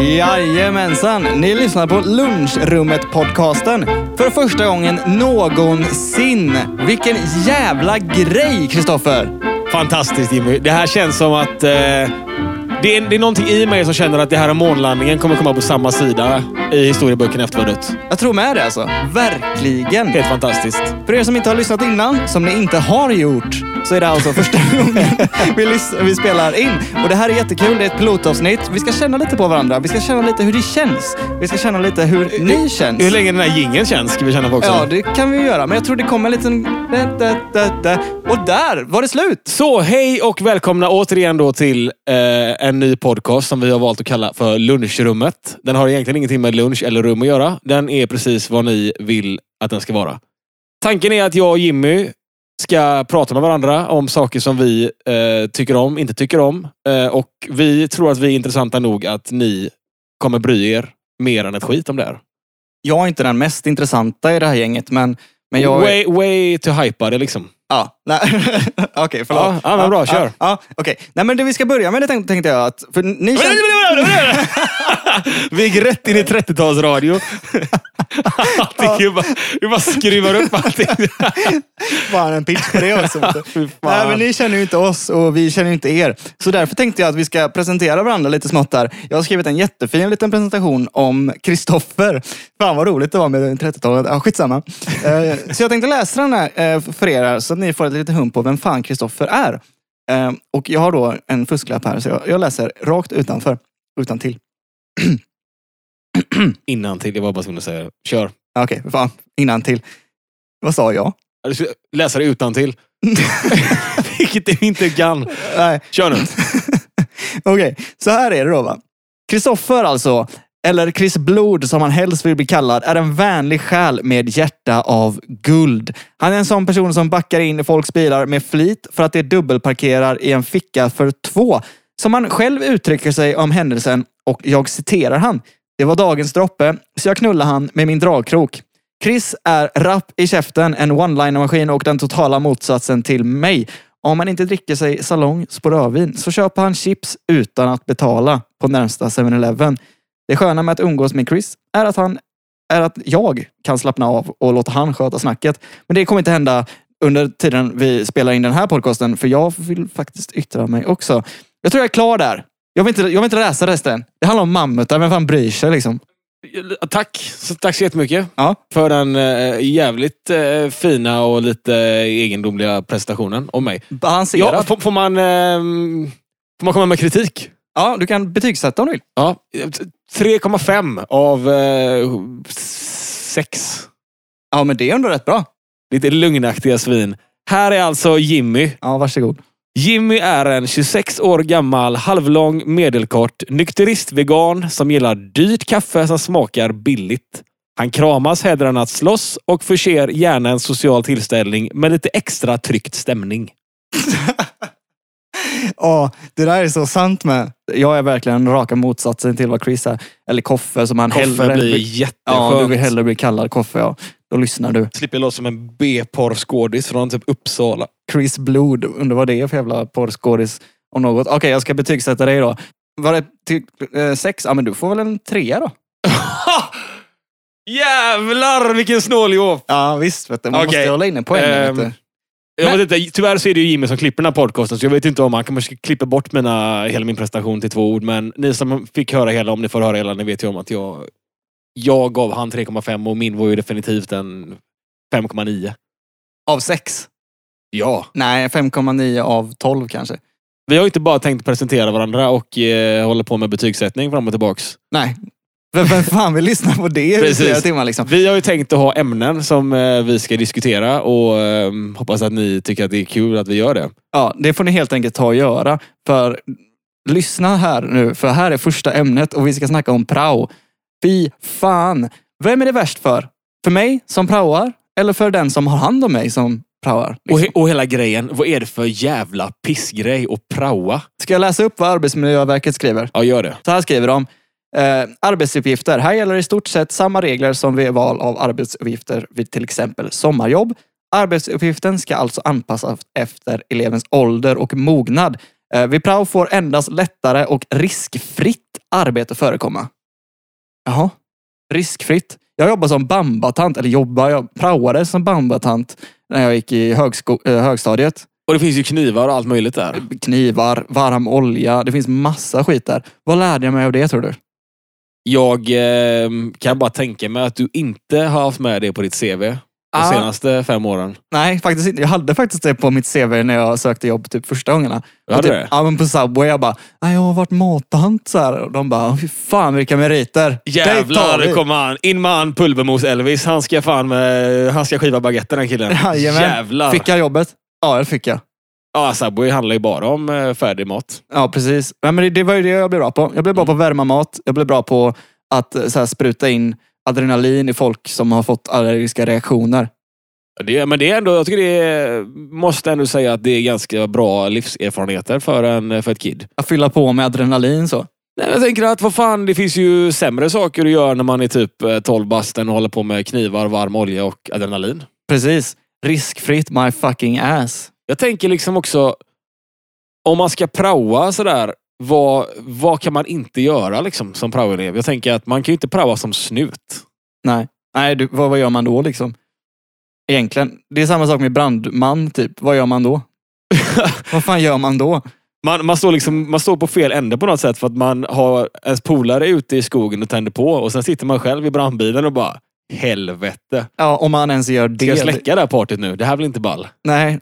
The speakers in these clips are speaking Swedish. Jajamensan! Ni lyssnar på Lunchrummet-podcasten för första gången någonsin. Vilken jävla grej, Kristoffer! Fantastiskt Jimmy. Det här känns som att... Eh, det, är, det är någonting i mig som känner att det här om månlandningen kommer komma på samma sida i historieböckerna efter vi har dött. Jag tror med det alltså. Verkligen! Helt fantastiskt. För er som inte har lyssnat innan, som ni inte har gjort, så är det alltså första gången vi, lys- vi spelar in. Och det här är jättekul. Det är ett pilotavsnitt. Vi ska känna lite på varandra. Vi ska känna lite hur det känns. Vi ska känna lite hur ni känns. Hur länge den här jingeln känns ska vi känna på också. Ja, det kan vi ju göra. Men jag tror det kommer en liten... Da, da, da, da. Och där var det slut! Så hej och välkomna återigen då till eh, en ny podcast som vi har valt att kalla för Lunchrummet. Den har egentligen ingenting med lunch eller rum att göra. Den är precis vad ni vill att den ska vara. Tanken är att jag och Jimmy ska prata med varandra om saker som vi eh, tycker om, inte tycker om. Eh, och vi tror att vi är intressanta nog att ni kommer bry er mer än ett skit om det här. Jag är inte den mest intressanta i det här gänget, men, men jag... Way, way to hypa det liksom. Ja, nej. Okej, förlåt. Ja, ja, men bra, kör. Ja, ja, Okej. Nej, men det vi ska börja med det tänkte, tänkte jag att... För ni känner, Vi gick rätt in i 30-talsradio. Allting är ju bara, vi bara skruvar upp allting. Fan, en pitch på det också. vet du. Fy fan. Nej, men ni känner ju inte oss och vi känner ju inte er. Så därför tänkte jag att vi ska presentera varandra lite smått där. Jag har skrivit en jättefin liten presentation om Kristoffer. Fan vad roligt det var med 30-talet. Ja, skitsamma. Eh, så jag tänkte läsa den här eh, för er här, så att ni får ett litet hum på vem fan Kristoffer är. Eh, Och jag har då en fusklapp här, så jag, jag läser rakt utanför. Utan till. Innan till, jag var bara tvungen att säga det. Kör. Okej, fan. Innan till. Vad sa jag? Du ska Alltså, läsa det utan till. Vilket du inte kan. Nej, Kör nu. Okej, så här är det då va. Kristoffer alltså, eller Chris Blod som han helst vill bli kallad, är en vänlig själ med hjärta av guld. Han är en sån person som backar in i folks bilar med flit för att de dubbelparkerar i en ficka för två. Som han själv uttrycker sig om händelsen och jag citerar han. Det var dagens droppe, så jag knullade han med min dragkrok. Chris är rapp i käften, en one-liner-maskin och den totala motsatsen till mig. Om man inte dricker sig salong på rödvin så köper han chips utan att betala på närmsta 7-Eleven. Det sköna med att umgås med Chris är att, han, är att jag kan slappna av och låta han sköta snacket. Men det kommer inte hända under tiden vi spelar in den här podcasten för jag vill faktiskt yttra mig också. Jag tror jag är klar där. Jag vill inte, jag vill inte läsa resten. Det handlar om mammutar. Vem fan bryr sig liksom? Tack. Så, tack så jättemycket. Ja, För den eh, jävligt eh, fina och lite egendomliga presentationen om mig. balanserat. Ja, får, får, man, ehm, får man komma med kritik? Ja, du kan betygsätta om du vill. Ja, 3,5 av eh, 6. Ja, men det är ändå rätt bra. Lite lugnaktiga svin. Här är alltså Jimmy. Ja, varsågod. Jimmy är en 26 år gammal, halvlång, medelkort, nykteristvegan som gillar dyrt kaffe som smakar billigt. Han kramas hellre än att slåss och förser gärna en social tillställning med lite extra tryckt stämning. Ja, det där är så sant med. Jag är verkligen raka motsatsen till vad Chris är. Eller Koffe som han Koffe hellre... blir ja, du vill jätteskönt. hellre bli kallad Koffe, ja. Då lyssnar du. Slipper låta som en B-porrskådis från typ Uppsala. Chris Blod, undrar vad det är för jävla porrskådis om något. Okej, jag ska betygsätta dig då. Var det till, eh, sex? Ja, men du får väl en trea då. Ha! Jävlar vilken snåljåp! Ja, visst. Vet du. Man Okej. måste hålla inne poängen. Ehm, vet du. Jag vet inte, tyvärr så är det ju Jimmy som klipper den här podcasten, så jag vet inte om han kanske klipper bort mina, hela min presentation till två ord. Men ni som fick höra hela, om ni får höra hela, ni vet ju om att jag, jag gav han 3,5 och min var ju definitivt en 5,9. Av sex? Ja. Nej, 5,9 av 12 kanske. Vi har ju inte bara tänkt presentera varandra och eh, håller på med betygssättning fram och tillbaks. Nej. Vem, vem fan vill lyssna på det i Precis. flera timmar liksom? Vi har ju tänkt att ha ämnen som eh, vi ska diskutera och eh, hoppas att ni tycker att det är kul att vi gör det. Ja, det får ni helt enkelt ta och göra. För lyssna här nu, för här är första ämnet och vi ska snacka om prao. Fy fan! Vem är det värst för? För mig som praoar eller för den som har hand om mig som praoar? Och, he- och hela grejen, vad är det för jävla pissgrej att praoa? Ska jag läsa upp vad Arbetsmiljöverket skriver? Ja, gör det. Så här skriver de. Eh, arbetsuppgifter. Här gäller i stort sett samma regler som vid val av arbetsuppgifter vid till exempel sommarjobb. Arbetsuppgiften ska alltså anpassas efter elevens ålder och mognad. Eh, Vid prao får endast lättare och riskfritt arbete förekomma. Jaha. Riskfritt. Jag jobbar som bambatant, eller jobbar, jag praoade som bambatant när jag gick i högsko- eh, högstadiet. Och det finns ju knivar och allt möjligt där. Knivar, varm olja, det finns massa skit där. Vad lärde jag mig av det tror du? Jag eh, kan bara tänka mig att du inte har haft med det på ditt CV de Ah. senaste fem åren. Nej, faktiskt inte. Jag hade faktiskt det på mitt CV när jag sökte jobb typ första gångerna. Du hade Och det? typ, ja, men på Subway. Jag bara, "Nej, jag har varit matant så här. Och de bara, fy fan vilka meriter. Jävlar, det nu kommer han. In med han Pulvermos-Elvis. Han ska fan med, han ska skiva baguette den killen. Jävlar. Fick jag jobbet? Ja, det fick jag. Ja, Subway handlar ju bara om eh, färdig mat. Ja, precis. Nej, men det, det var ju det jag blev bra på. Jag blev bra på att värma mat. Jag blev bra på att eh, så här, spruta in adrenalin i folk som har fått allergiska reaktioner. Det, men det är ändå, jag tycker det är, måste ändå säga att det är ganska bra livserfarenheter för, en, för ett kid. Att fylla på med adrenalin så. Nej, men jag tänker att vad fan, det finns ju sämre saker att göra när man är typ eh, 12 bast än att hålla på med knivar, varm olja och adrenalin. Precis. Riskfritt my fucking ass. Jag tänker liksom också, om man ska praoa sådär, vad, vad kan man inte göra liksom, som praoelev? Jag tänker att man kan ju inte praoa som snut. Nej, Nej du, vad, vad gör man då liksom? Egentligen. Det är samma sak med brandman typ. Vad gör man då? vad fan gör man då? Man, man, står liksom, man står på fel ände på något sätt för att man har ens polare ute i skogen och tänder på och sen sitter man själv i brandbilen och bara helvete. Ja, om man ens gör Ska det. jag släcka det här partyt nu? Det här blir inte ball. Nej.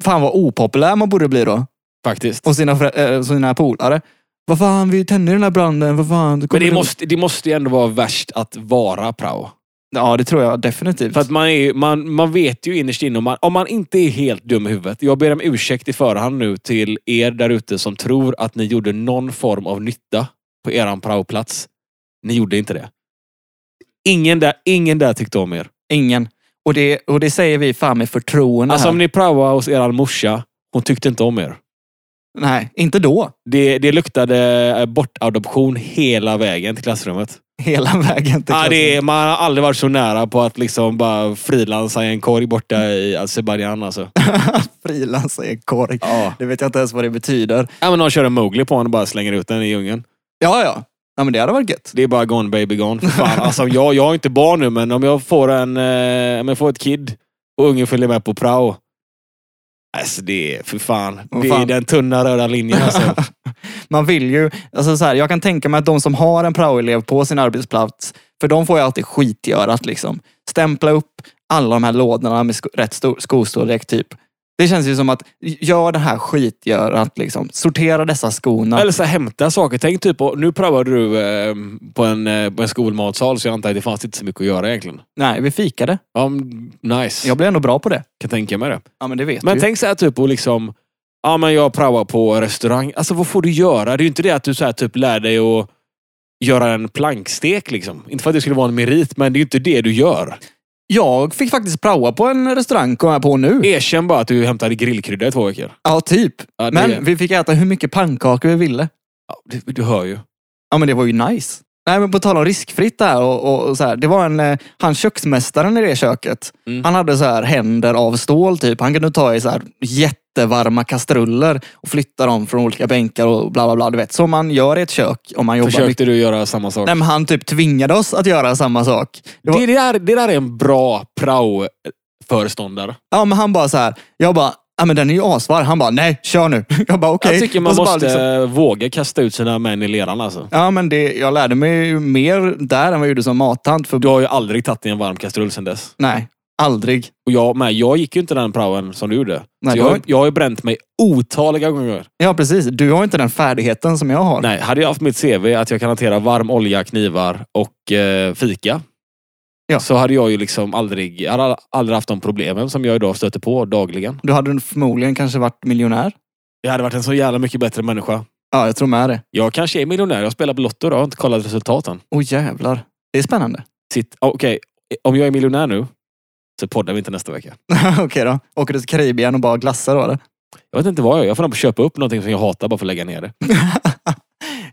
Fan vad opopulär man borde bli då. Faktiskt. och sina, förä- eh, sina polare. Vad fan, vi tänder den här branden. Vad fan, Men det du- måste, det måste ju ändå vara värst att vara prao. Ja, det tror jag definitivt. För att man, är, ju- man, man vet ju innerst inne, om man, om man inte är helt dum i huvudet. Jag ber om ursäkt i förhand nu till er där ute som tror att ni gjorde någon form av nytta på eran praoplats. Ni gjorde inte det. Ingen där, ingen där tyckte om er. Ingen. Och det, och det säger vi fan med förtroende Alltså här. om ni praoade hos eran morsa, hon tyckte inte om er. Nej, inte då. Det, det luktade eh, bortadoption hela vägen till klassrummet. Hela vägen till Ja, det klassen. är, man har aldrig varit så nära på att liksom bara frilansa i en korg borta i Azerbajdzjan. Alltså. Frilansa i en korg. Ja. Det vet jag inte ens vad det betyder. Ja, men någon kör en Mowgli på honom och bara slänger ut den i djungeln. Ja, ja. Ja, men det hade varit gött. Det är bara gone baby gone. För Fan, alltså, jag, jag är inte barn nu, men om jag får, en, eh, om jag får ett kid och ungen följer med på prao. Alltså det är, för fan. Vad Det är fan. den tunna röda linjen alltså. Man vill ju, alltså så här, jag kan tänka mig att de som har en praoelev på sin arbetsplats, för de får ju alltid skit i örat liksom. Stämpla upp alla de här lådorna med sko, rätt stor, skostorlek typ. Det känns ju som att, gör det här skit i örat liksom. Sortera dessa skorna. Eller så här, hämta saker. Tänk typ, på- nu praoade du eh, på, en, eh, på en skolmatsal så jag antar att det fanns inte så mycket att göra egentligen. Nej, vi fikade. Ja, men nice. Jag Jag blir ändå bra på det. kan tänka mig det. Ja, men det vet Men du ju. tänk så här typ och liksom, ja men jag praoar på restaurang. Alltså vad får du göra? Det är ju inte det att du så här typ lär dig att göra en plankstek liksom. Inte för att det skulle vara en merit, men det är ju inte det du gör. Jag fick faktiskt praoa på en restaurang, kom jag på nu. Erkänn bara att du hämtade grillkrydda i två veckor. Ja, typ. Ja, det- Men vi fick äta hur mycket pannkakor vi ville. Ja, du, du hör ju. Ja men det var ju nice. Nej men på tal om riskfritt där och, och, och så här. Det var en, eh, han köksmästaren i det köket. Mm. Han hade så här händer av stål typ. Han kunde ta i så här jättevarma kastruller och flytta dem från olika bänkar och bla bla bla. Du vet, som man gör i ett kök om man jobbar mycket. Försökte du göra samma sak? Nej men han typ tvingade oss att göra samma sak. Det var, det, där, det där är en bra prao-föreståndare. Ja men han bara så här. Jag bara, ja men den är ju asvarm. Han bara, nej kör nu. Jag bara okej. Jag tycker man Och så bara måste liksom- våga kasta ut sina män i leran alltså. Ja men det, jag lärde mig ju mer där än vad jag gjorde som mattant. För, Du har ju aldrig tagit i en varm kastrull sedan dess. nej, aldrig. Och jag med. Jag gick ju inte den praoen som du gjorde. Nej, så du jag, har- jag har ju bränt mig otaliga gånger. Ja, precis. Du har inte den färdigheten som jag har. Nej, hade jag haft mitt CV att jag kan hantera varm olja, knivar och eh, fika. Ja. Så hade jag ju liksom aldrig, jag hade aldrig haft de problemen som jag idag stöter på dagligen. Du hade förmodligen kanske varit miljonär. Jag hade varit en så jävla mycket bättre människa. Ja, jag tror med det. Jag kanske är miljonär. Jag spelar på Lotto då. Jag har inte kollat resultaten. Åh jävlar. Det är spännande. Sitt, ah, Okej, om jag är miljonär nu så poddar vi inte nästa vecka. Okej då. Åker du till Karibien och bara glassar då eller? Jag vet inte vad jag gör. Jag får nog köpa upp någonting som jag hatar bara för att lägga ner det.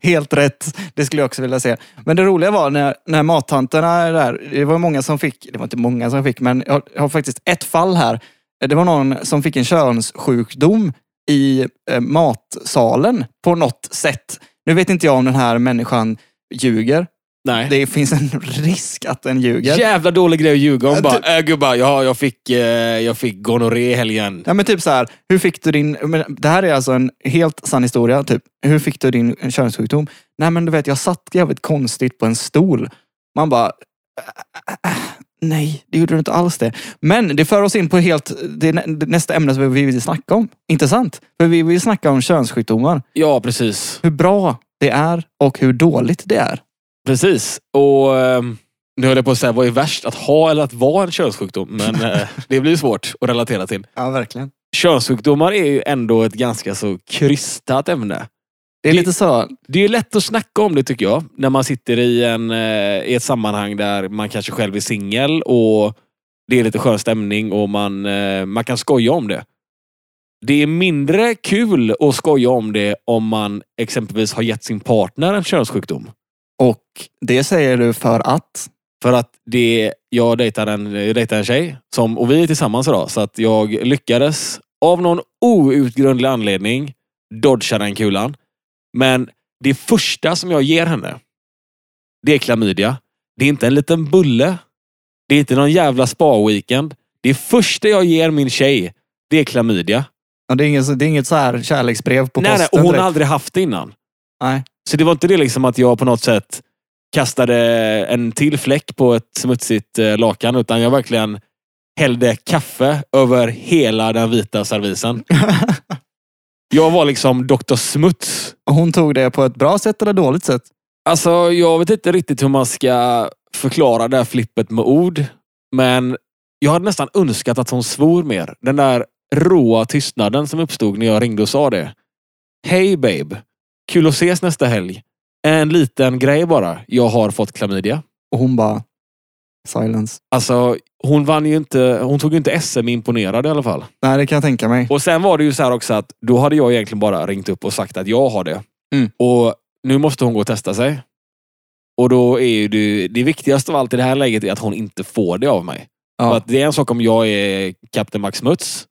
Helt rätt. Det skulle jag också vilja se. Men det roliga var när, när mattanterna är där. Det var många som fick, det var inte många som fick, men jag har, jag har faktiskt ett fall här. Det var någon som fick en könssjukdom i eh, matsalen på något sätt. Nu vet inte jag om den här människan ljuger. Nej. Det finns en risk att den ljuger. Jävla dålig grej att ljuga om. Ja, Bara, äh, gubbar, jag, jag fick, eh, jag fick gonorré i helgen. Ja men typ så här, hur fick du din... Men det här är alltså en helt sann historia. Typ. Hur fick du din könssjukdom? Nej men du vet, jag satt jävligt konstigt på en stol. Man bara... "Äh, äh, Nej, det gjorde du inte alls det. Men det för oss in på helt, det är nä- det nästa ämne som vi vill snacka om. Inte sant? För vi vill snacka om könssjukdomar. Ja, precis. Hur bra det är och hur dåligt det är. Precis. Och ehm, nu höll jag på att säga, vad är värst? Att ha eller att vara en könssjukdom? Men eh, det blir ju svårt att relatera till. Ja, verkligen. Könssjukdomar är ju ändå ett ganska så krystat ämne. Det är lite så... Det är ju lätt att snacka om det tycker jag. När man sitter i, en, eh, i ett sammanhang där man kanske själv är singel och det är lite skön stämning och man, eh, man kan skoja om det. Det är mindre kul att skoja om det om man exempelvis har gett sin partner en könssjukdom. Och det säger du för att... För att det, jag dejtar en, jag dejtar en tjej som, och vi är tillsammans idag. Så att jag lyckades av någon outgrundlig anledning dodga den kulan. Men det första som jag ger henne, det är klamydia. Det är inte en liten bulle. Det är inte någon jävla spa-weekend. Det första jag ger min tjej, det är klamydia. Ja, det, är inget, det är inget så här kärleksbrev på Nej, nej, posten och hon direkt. har aldrig haft det innan. Nej. Så det var inte det liksom att jag på något sätt kastade en till fläck på ett smutsigt eh, lakan. Utan jag verkligen hällde kaffe över hela den vita servisen. Jag var liksom Dr. Smuts. Hon tog det på ett bra sätt eller dåligt sätt? Alltså, jag vet inte riktigt hur man ska förklara det här flippet med ord. Men jag hade nästan önskat att hon svor mer. Den där råa tystnaden som uppstod när jag ringde och sa det. Hej babe. Kul att ses nästa helg. En liten grej bara. Jag har fått klamydia. Och hon bara... Silence. Alltså, hon vann ju inte... Hon tog ju inte SM imponerad i alla fall. Nej, det kan jag tänka mig. Och sen var det ju så här också att då hade jag egentligen bara ringt upp och sagt att jag har det. Mm. Och nu måste hon gå och testa sig. Och då är ju det, det viktigaste av allt i det här läget är att hon inte får det av mig. För Ja. att det är en sak om jag är Kapten Max Smuts.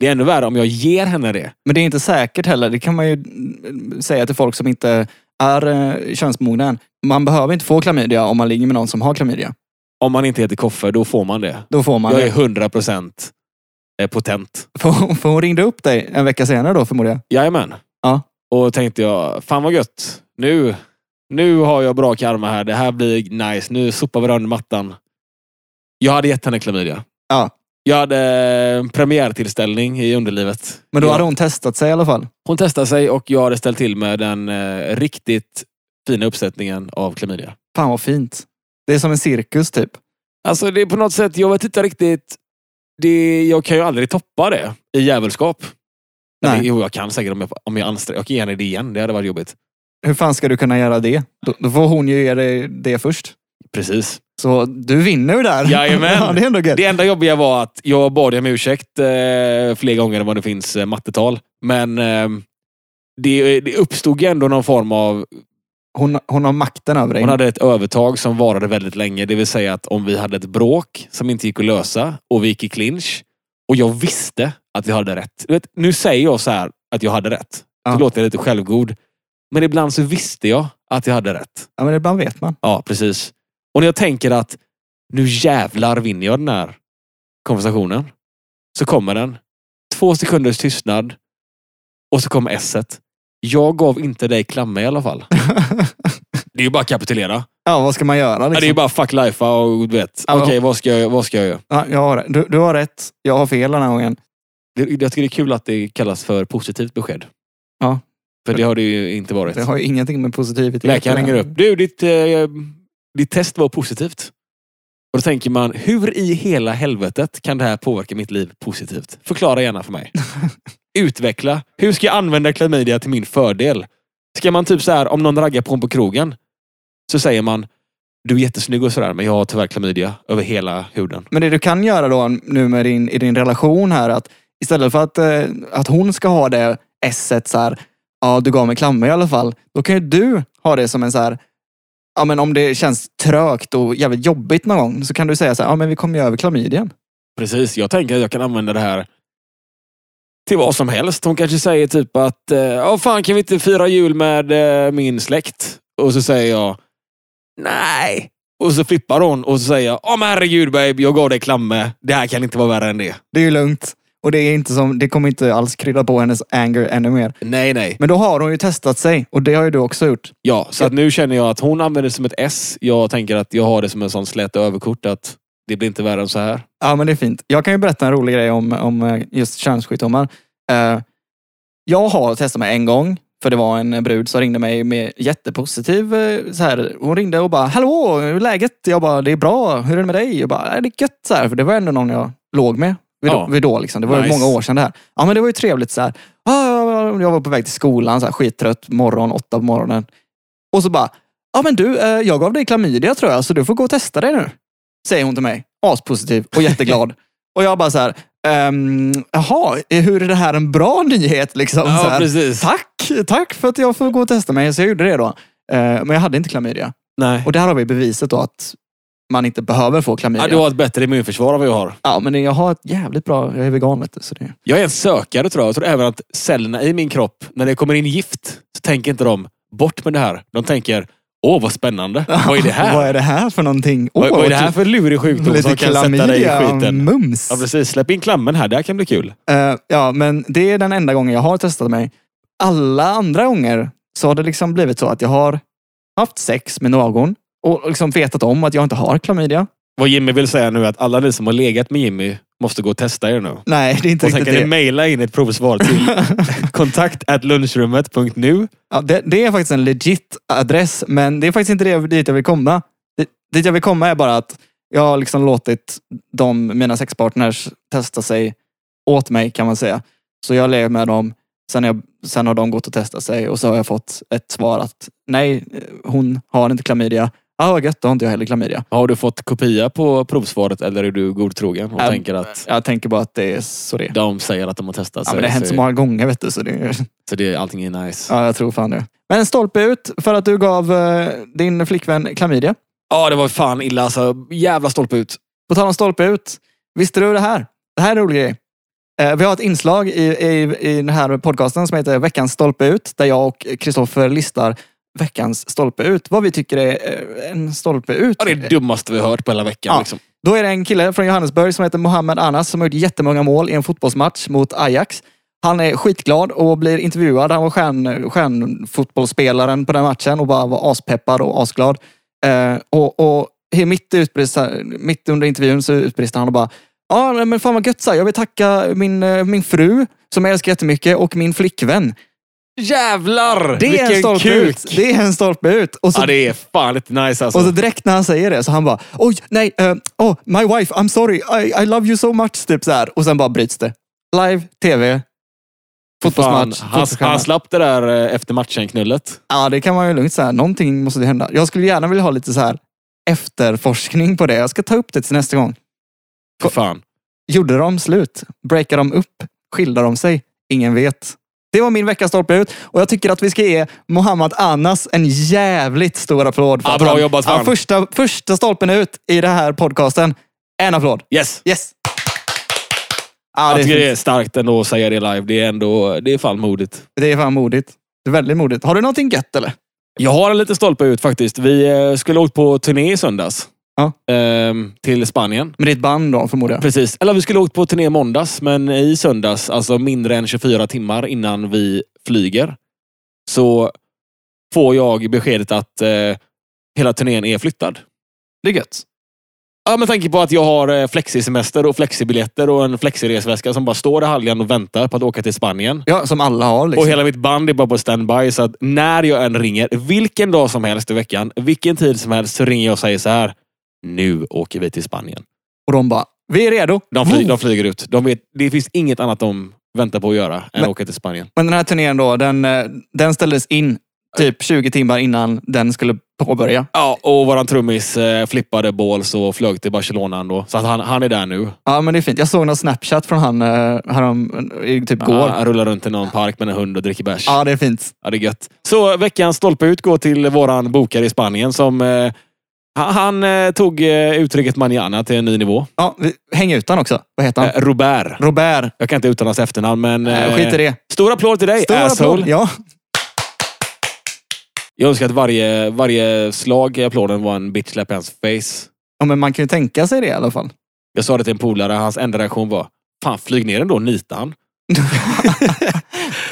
Det är ännu värre om jag ger henne det. Men det är inte säkert heller. Det kan man ju mm, säga till folk som inte är eh, könsmogna än. Man behöver inte få klamydia om man ligger med någon som har klamydia. Om man inte heter Koffe, då får man det. Då får man Jag är det. 100% eh, potent. För hon, för hon ringde upp dig en vecka senare då förmodar jag. Jajamän. Ja. Och tänkte jag, fan vad gött. Nu, nu har jag bra karma här. Det här blir nice. Nu sopar vi under mattan. Jag hade gett henne klamydia. Ja. Jag hade en premiärtillställning i underlivet. Men då jag, hade hon testat sig i alla fall. hon testade sig och jag hade ställt till med den eh, riktigt fina uppsättningen av klamydia. Fan vad fint. Det är som en cirkus typ. Alltså det är på något sätt, jag vet inte riktigt. Det, jag kan ju aldrig toppa det i djävulskap. Nej. Eller, Jo, jag kan säkert om jag, om jag anstränger Jag kan ge henne det igen. Det hade varit jobbigt. Hur fan ska du kunna göra det? Då, då får hon ju ge dig det först. Precis. Så du vinner ju där. Jajamän. ja, det är ändå gött. Det enda jobbiga var att jag bad om ursäkt eh, fler gånger än vad det finns eh, mattetal. Men eh, det, det uppstod ju ändå någon form av... Hon, hon har makten över dig. Hon hade ett övertag som varade väldigt länge. Det vill säga att om vi hade ett bråk som inte gick att lösa och vi gick i clinch och jag visste att vi hade rätt. Du vet, nu säger jag så här att jag hade rätt. Då Ja. låter jag lite självgod. Men ibland så visste jag att jag hade rätt. Ja, men ibland vet man. Ja, precis. Och när jag tänker att nu jävlar vinner jag den här konversationen. Så kommer den. Två sekunders tystnad. Och så kommer esset. Jag gav inte dig klamma i alla fall. Det är ju bara att kapitulera. Ja, vad ska man göra? Ja, Det är ju Liksom? bara fuck life och du vet. Ja. Okej, vad ska jag, vad ska jag göra? Ja, jag har, du, du har rätt, jag har fel den här gången. Det- Jag tycker det är kul att det kallas för positivt besked. Ja. För det har det ju inte varit. Det har ju ingenting med positivitet Läkaren att ringer göra. upp. Du, ditt, eh, ditt test var positivt. Och då tänker man, hur i hela helvetet kan det här påverka mitt liv positivt? Förklara gärna för mig. Utveckla. Hur ska jag använda klamydia till min fördel? Ska man typ så här, om någon raggar på en på krogen, så säger man, du är jättesnygg och sådär, men jag har tyvärr klamydia över hela huden. Men det du kan göra då nu med din, i din relation här, att istället för att, eh, att hon ska ha det esset så här, ja du gav mig klammer i alla fall. Då kan ju du ha det som en så här, ja men om det känns trögt och jävligt jobbigt någon gång så kan du säga så här, ja men vi kommer ju över klamydian. Precis, jag tänker att jag kan använda det här till vad som helst. Hon kanske säger typ att eh, "Ja, fan kan vi inte fira jul med eh, min släkt? Och så säger jag nej. Och så flippar hon och så säger jag "Ja, men herregud babe, jag gav dig klamme. Det här kan inte vara värre än det. Det är ju lugnt. Och det, är inte som, det kommer inte alls krydda på hennes anger ännu mer. Nej, nej. Men då har hon ju testat sig och det har ju du också gjort. Ja, så att nu känner jag att hon använder det som ett S. Jag tänker att jag har det som en sån slät överkort att det blir inte värre än så här. Ja, men det är fint. Jag kan ju berätta en rolig grej om, om eh, just könssjukdomar. Eh, Jag har testat mig en gång. För det var en brud som ringde mig med jättepositiv... eh, Så här, hon ringde och bara “Hallå, hur är läget?” Jag bara “Det är bra, hur är det med dig?” Jag bara “Nej, “Det är gött” så här, för det var ändå någon jag låg med. Vid, Ja. då, vid då liksom. Det var ju Nice. många år sedan det här. Ja men det var ju trevligt så här. "Ah, Jag var på väg till skolan, så här, skittrött, morgon, åtta på morgonen. Och så bara “Ja men du, eh, jag gav dig klamydia tror jag, så du får gå och testa dig nu” säger hon till mig. Aspositiv och jätteglad. och jag bara så här, ehm, jaha, hur är det här en bra nyhet? Liksom, så här. precis. Tack! Tack för att jag får gå och testa mig. Så jag gjorde det då. Eh, Men jag hade inte klamydia. Nej. Och där har vi beviset då att man inte behöver få Ja, klamydia. du har ett bättre immunförsvar än vad jag har. Ja, men jag har ett jävligt bra... Jag är vegan vet du. Så det... Jag är en sökare tror jag. Jag tror även att cellerna i min kropp, när det kommer in gift, så tänker inte de bort med det här. De tänker, åh vad spännande. Vad är det här? Vad är det här för någonting? vad, vad är det här typ för lurig sjukdom Lite som kan sätta dig i klamydia och skiten? mums. Ja, precis. Släpp in klammen här. Det här kan bli kul. Eh, ja, men det är den enda gången jag har testat mig. Alla andra gånger så har det liksom blivit så att jag har haft sex med någon och liksom vetat om att jag inte har klamydia. Vad Jimmy vill säga nu är att alla ni som har legat med Jimmy måste gå och testa er nu. Nej, det är inte Och sen kan riktigt det. ni mejla in ett provsvar till kontakt lunchrummet.nu. Ja, det, det är faktiskt en legit adress, men det är faktiskt inte det, dit jag vill komma. Dit, dit jag vill komma är bara att jag har liksom låtit de, mina sexpartners testa sig åt mig kan man säga. Så jag lever med dem, sen, jag, sen har de gått och testat sig och så har jag fått ett svar att nej, eh, hon har inte klamydia. Ja, vad gött, då har inte jag heller klamydia. Har du fått kopia på provsvaret eller är du godtrogen och Äm, tänker att Jag tänker bara att det är så det är. de säger att de har testat Ja, sig? men det har hänt så- så många gånger vet du, så det är... Så det, allting är nice. Ja. Ja, jag tror fan det. Men stolpe ut för att du gav eh, din flickvän klamydia. det var fan illa alltså. Jävla stolpe ut. På tal om stolpe ut. Visste du det här? Det här är en rolig grej. Eh, Vi har ett inslag i, i, i den här podcasten som heter Veckans stolpe ut. Där jag och Kristoffer listar veckans stolpe ut. Vad vi tycker är eh, en stolpe ut. Ja, det är det dummaste vi har hört på hela veckan. Ja. Liksom. Då är det en kille från Johannesburg som heter Mohammed Anas som har gjort jättemånga mål i en fotbollsmatch mot Ajax. Han är skitglad och blir intervjuad. Han var stjärn, stjärnfotbollsspelaren på den matchen och bara var aspeppad och asglad. Eh, och, och he- mitt, i utbrist, mitt under intervjun så utbrister han och bara Ja, nej, men fan vad gött så här. Jag vill tacka min, eh, min fru som jag älskar jättemycket och min flickvän. Jävlar! Det är en vilken stolpe kuk! ut. Det är en stolpe ut. Och så Ja, det är fan lite nice alltså. och så direkt när han säger det så han bara, oj, nej, eh, oh, my wife, I'm sorry, I, I love you so much, typ så här. Och sen bara bryts det. Live, tv, fan, fotbollsmatch, han, fotbollsstjärna. han slapp det där eh, efter matchen-knullet. Ja, det kan man ju lugnt säga. Någonting måste det hända. Jag skulle gärna vilja ha lite så här efterforskning på det. Jag ska ta upp det till nästa gång. För fan. Gjorde de slut? Breakade de upp? Skilde de sig? Ingen vet. Det var min veckas stolpe ut och jag tycker att vi ska ge Mohammad Anas en jävligt stor applåd. Ja, att bra han, jobbat, fan. han första, första stolpen ut i den här podcasten. En applåd. Yes! Yes! Ja, Jag det, tycker det är, är starkt ändå att säga det live. Det är ändå, det är fan modigt. det är fan modigt. Det är väldigt modigt. Har du någonting gött eller? Jag har en liten stolpe ut faktiskt. Vi eh, skulle åkt på turné i söndags. Ja. Ehm, till Spanien. Med ditt band då förmodar jag. Precis. Eller vi skulle åkt på turné i måndags, men i söndags, alltså mindre än 24 timmar innan vi flyger, så får jag beskedet att eh, hela turnén är flyttad. Det är gött. Ja, med tanke på att jag har eh, flexisemester och flexibiljetter och en flexiresväska som bara står i hallen och väntar på att åka till Spanien. Ja, som alla har liksom. Och hela mitt band är bara på standby. Så att när jag än ringer, vilken dag som helst i veckan, vilken tid som helst, så ringer jag och säger så här. Nu åker vi till Spanien. Och de bara, vi är redo. De, fly, Woo! de flyger ut. De vet, det finns inget annat de väntar på att göra än att Men- åka till Spanien. Men den här turnén då, den, eh, den ställdes in typ 20 timmar innan den skulle påbörja. Ja, och våran trummis eh, flippade balls och flög till Barcelona ändå. Så att han, han är där nu. Ja, men det är fint. Jag såg någon snapchat från han eh, härom, i typ går. Han, han rullar runt i någon park med en hund och dricker bärs. Ja, det är fint. Ja, det är gött. Så veckans stolpe ut går till våran bokare i Spanien som eh, Han, han eh, tog eh, uttrycket manana till en ny nivå. Ja, vi- häng utan också. Vad heter han? Eh, Robert. Robert. Jag kan inte uttala hans efternamn, men... Nej, eh, skit i det. Stor applåd till dig, Stor asshole. applåd. Ja. Jag önskar att varje, varje slag i applåden var en bitch slap i hans face. ja, men man kan ju tänka sig det i alla fall. Jag sa det till en polare, hans enda reaktion var Fan, flyg ner den då, nita han.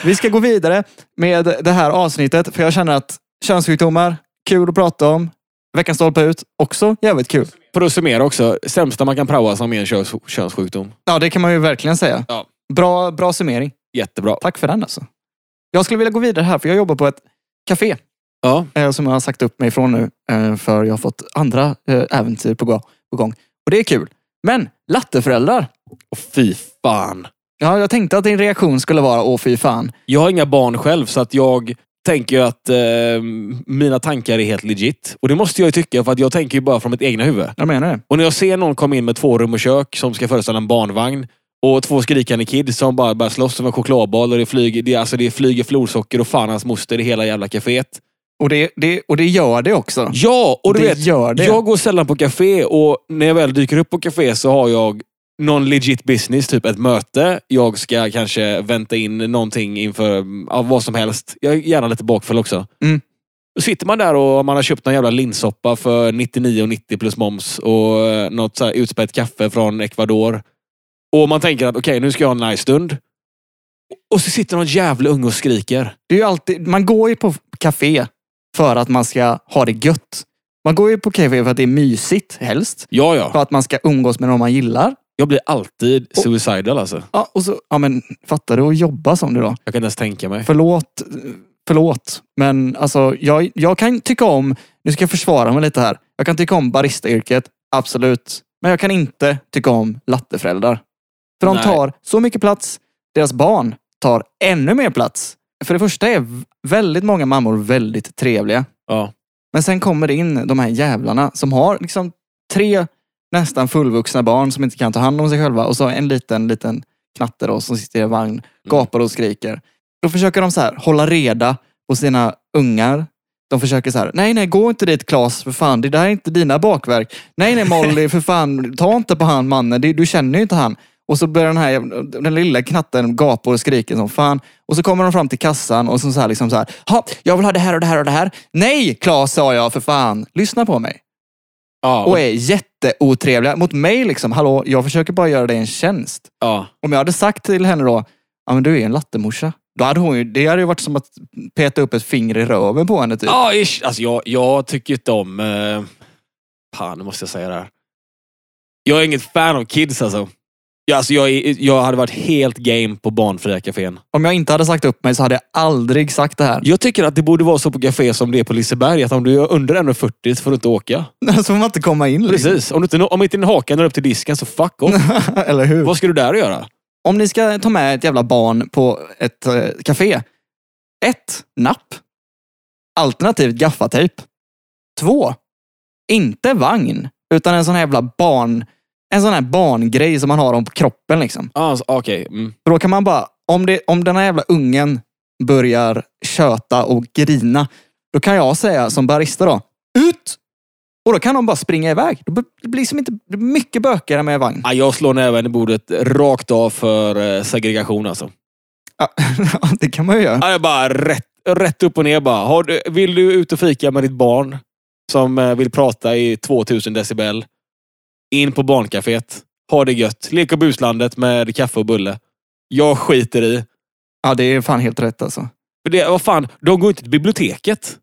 Vi ska gå vidare med det här avsnittet. För jag känner att könssjukdomar, kul att prata om. Veckans stolpe ut, också jävligt kul. För att summera också, sämsta man kan praoa som är en köns- könssjukdom. Ja, det kan man ju verkligen säga. Ja. Bra, bra summering. Jättebra. Tack för den alltså. Jag skulle vilja gå vidare här, för jag jobbar på ett café Ja. eh, som jag har sagt upp mig ifrån nu. Eh, för jag har fått andra eh, äventyr på, gå- på gång. Och det är kul. Men latteföräldrar. Och fy fan. Ja, jag tänkte att din reaktion skulle vara åh fy fan. Jag har inga barn själv, så att jag tänker ju att eh, mina tankar är helt legit. Och det måste jag ju tycka, för att jag tänker ju bara från mitt egna huvud. Jag menar det. Och när jag ser någon komma in med två rum och kök som ska föreställa en barnvagn och två skrikande kids som bara börjar slåss som en chokladboll och det flyger, det, är- alltså det flyger florsocker och fan hans moster i hela jävla kaféet. Och det, det, och det gör det också. Ja, och du det vet. gör det. Jag går sällan på café och när jag väl dyker upp på café så har jag någon legit business, typ ett möte. Jag ska kanske vänta in någonting inför ja, vad som helst. Jag är gärna lite bakfull också. Mm. Då sitter man där och man har köpt någon jävla linssoppa för 99,90 plus moms och eh, något så här utspätt kaffe från Ecuador. Och man tänker att okej, nu ska jag ha en nice stund. Och så sitter någon jävla unge och skriker. Det är ju alltid, man går ju på café för att man ska ha det gött. Man går ju på café för att det är mysigt helst. Ja, ja. För att man ska umgås med någon man gillar. Jag blir alltid Och- suicidal alltså. Ja, och så, ja men fattar du att jobba som du då? Jag kan inte ens tänka mig. Förlåt, förlåt. Men alltså, jag, jag kan tycka om, nu ska jag försvara mig lite här. Jag kan tycka om baristayrket, absolut. Men jag kan inte tycka om latteföräldrar. För de Nej. tar så mycket plats. Deras barn tar ännu mer plats. För det första är v- väldigt många mammor väldigt trevliga. Ja. Men sen kommer det in de här jävlarna som har liksom tre nästan fullvuxna barn som inte kan ta hand om sig själva och så en liten, liten knatte då som sitter i en vagn, gapar och skriker. Då försöker de så här hålla reda på sina ungar. De försöker så här, nej nej gå inte dit Klas för fan, det där är inte dina bakverk. Nej nej Molly för fan, ta inte på han mannen, det, du känner ju inte han. Och så börjar den här jävla- den lilla knatten gapa och skrika som fan. Och så kommer de fram till kassan och så, så här liksom så här, ha, jag vill ha det här och det här och det här. Nej Klas sa jag för fan, lyssna på mig Ja, och är jätteotrevliga mot mig. liksom. Hallå, jag försöker bara göra dig en tjänst. ja. Om jag hade sagt till henne då, ja men du är en lattemorsa. Då hade hon ju, det hade ju varit som att peta upp ett finger i röven på henne typ. Ja, ish. Alltså, jag, jag tycker inte om... Eh, fan, nu måste jag säga det här. Jag är inget fan av kids alltså. Ja, alltså jag, är- jag hade varit helt game på barnfria kafén. Om jag inte hade sagt upp mig så hade jag aldrig sagt det här. Jag tycker att det borde vara så på café som det är på Liseberg. Att om du är under 1,40 så får du inte åka. Så får man inte komma in. liksom. Precis. Om, du inte, om inte din haka når upp till disken så fuck off. Eller hur? Vad ska du där och göra? Om ni ska ta med ett jävla barn på ett eh, café. Ett, Napp. Alternativt gaffatejp. Två, Inte vagn, utan en sån här jävla barn... En sån här barngrej som man har om på kroppen liksom. Ah, Alltså, Okej. Mm. För då kan man bara... Om, det, om den här jävla ungen börjar köta och grina, då kan jag säga som barista då, ut! Och då kan de bara springa iväg. Det blir- det blir liksom inte det blir mycket bökigare med vagn. Ah, jag slår näven i bordet rakt av för eh, segregation alltså. Ja, det kan man ju göra. Ja, jag bara rätt, rätt upp och ner bara. Har du, vill du ut och fika med ditt barn som eh, vill prata i 2000 decibel? In på barncaféet. Ha det gött. Lek och buslandet med kaffe och bulle. Jag skiter i. Ja, det är fan helt rätt alltså. För Det, vad fan, de går inte till biblioteket.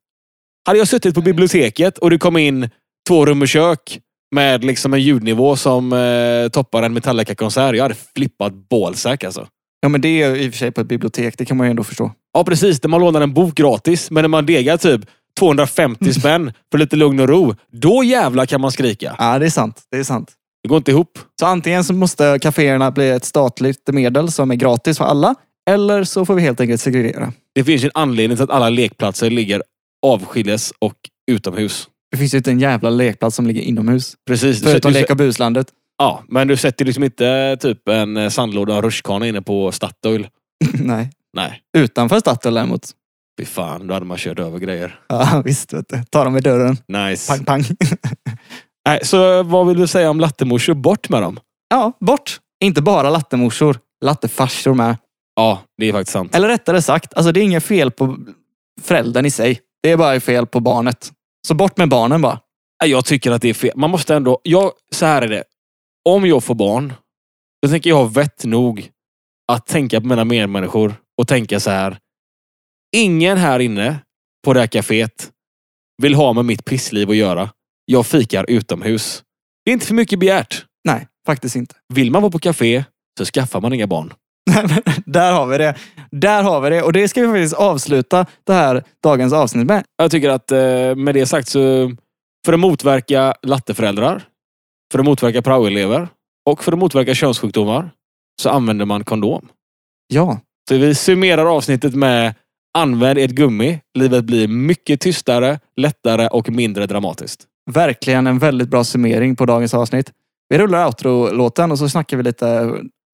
Hade jag suttit på biblioteket och det kom in två rum och kök med liksom en ljudnivå som eh, toppar en Metallica-konsert. Jag hade flippat bålsäck alltså. Ja, men det är i och för sig på ett bibliotek. Det kan man ju ändå förstå. Ja, precis. Där man lånar en bok gratis, men när man degar typ 250 spänn för lite lugn och ro. Då jävla kan man skrika. Ja, det är sant. Det är sant. Det går inte ihop. Så antingen så måste kaféerna bli ett statligt medel som är gratis för alla. Eller så får vi helt enkelt segregera. Det finns ju en anledning till att alla lekplatser ligger avskildes och utomhus. Det finns ju inte en jävla lekplats som ligger inomhus. Precis. Du sätter, Förutom du, Leka Buslandet. ja, men du sätter liksom inte typ en eh, sandlåda och en rutschkana inne på Statoil. Nej. Nej, Utanför Statoil däremot. fy fan. Då hade man kört över grejer. Ja, visst. Vet du. Ta dem i dörren. Nice. Pang, pang. Nej, så vad vill du säga om lattemorsor? Bort med dem. Ja, bort. Inte bara lattemorsor. Lattefarsor med. Ja, det är faktiskt sant. Eller rättare sagt, alltså det är inget fel på föräldern i sig. Det är bara fel på barnet. Så bort med barnen bara. Nej, Jag tycker att det är fel. Man måste ändå... Jag, så här är det. Om jag får barn, då tänker jag ha vett nog att tänka på mina medmänniskor och tänka så här. Ingen här inne på det här kaféet vill ha med mitt pissliv att göra. Jag fikar utomhus. Det är inte för mycket begärt. Nej, faktiskt inte. Vill man vara på kafé så skaffar man inga barn. Där har vi det. Där har vi det. Och det ska vi faktiskt avsluta det här dagens avsnitt med. Jag tycker att eh, med det sagt så för att motverka latteföräldrar, för att motverka praoelever och för att motverka könssjukdomar så använder man kondom. Ja, Så vi summerar avsnittet med använd ett gummi. Livet blir mycket tystare, lättare och mindre dramatiskt. verkligen en väldigt bra summering på dagens avsnitt. Vi rullar outro-låten och så snackar vi lite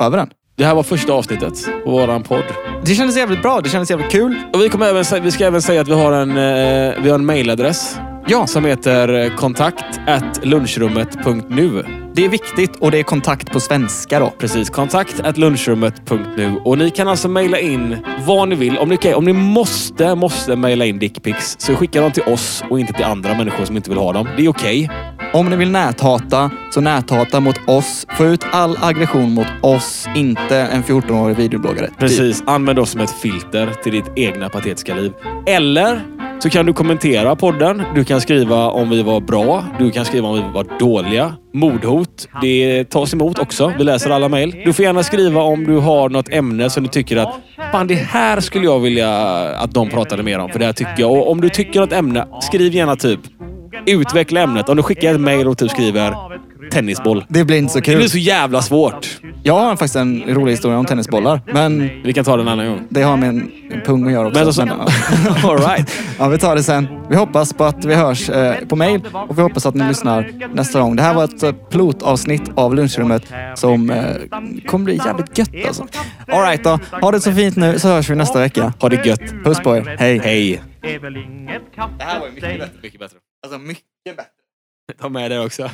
över den. Det här var första avsnittet på våran podd. Det kändes jävligt bra. Det kändes jävligt kul. Och vi, kommer även, sä- vi ska även säga att vi har en, eh, vi har en mailadress Ja, som heter eh, kontakt at lunchrummet.nu. det är viktigt och det är kontakt på svenska då. Precis. Kontakt at lunchrummet.nu. Och ni kan alltså mejla in vad ni vill. Om ni, kan, om ni måste, måste mejla in dickpics så skicka dem till oss och inte till andra människor som inte vill ha dem. Det är okej. Om ni vill näthata, så näthata mot oss. Få ut all aggression mot oss, inte en 14-årig videobloggare. Typ. Precis. Använd oss som ett filter till ditt egna patetiska liv. Eller så kan du kommentera podden. Du kan skriva om vi var bra. Du kan skriva om vi var dåliga. Mordhot. Det tas emot också. Vi läser alla mejl. Du får gärna skriva om du har något ämne som du tycker att Fan, det här skulle jag vilja att de pratade mer om. För det här tycker jag. Och om du tycker något ämne, skriv gärna typ utveckla ämnet. Om du skickar ett mejl och typ skriver tennisboll. Det blir inte så Det kul. blir så jävla svårt. Jag har faktiskt en rolig historia om tennisbollar, men Vi kan ta den en annan gång. det har med en pung att göra också. Men alltså- All right. ja, vi tar det sen. Vi hoppas på att vi hörs eh, på mail och vi hoppas att ni lyssnar nästa gång. Det här var ett eh, pilotavsnitt av lunchrummet som eh, kommer bli jävligt gött alltså. All right då. Ha det så fint nu så hörs vi nästa vecka. Ha det gött. Puss på er. Hej. Hej. Det är väl inget här var ju mycket kappsteg. bättre. Mycket bättre. Alltså mycket bättre. Ta med det också.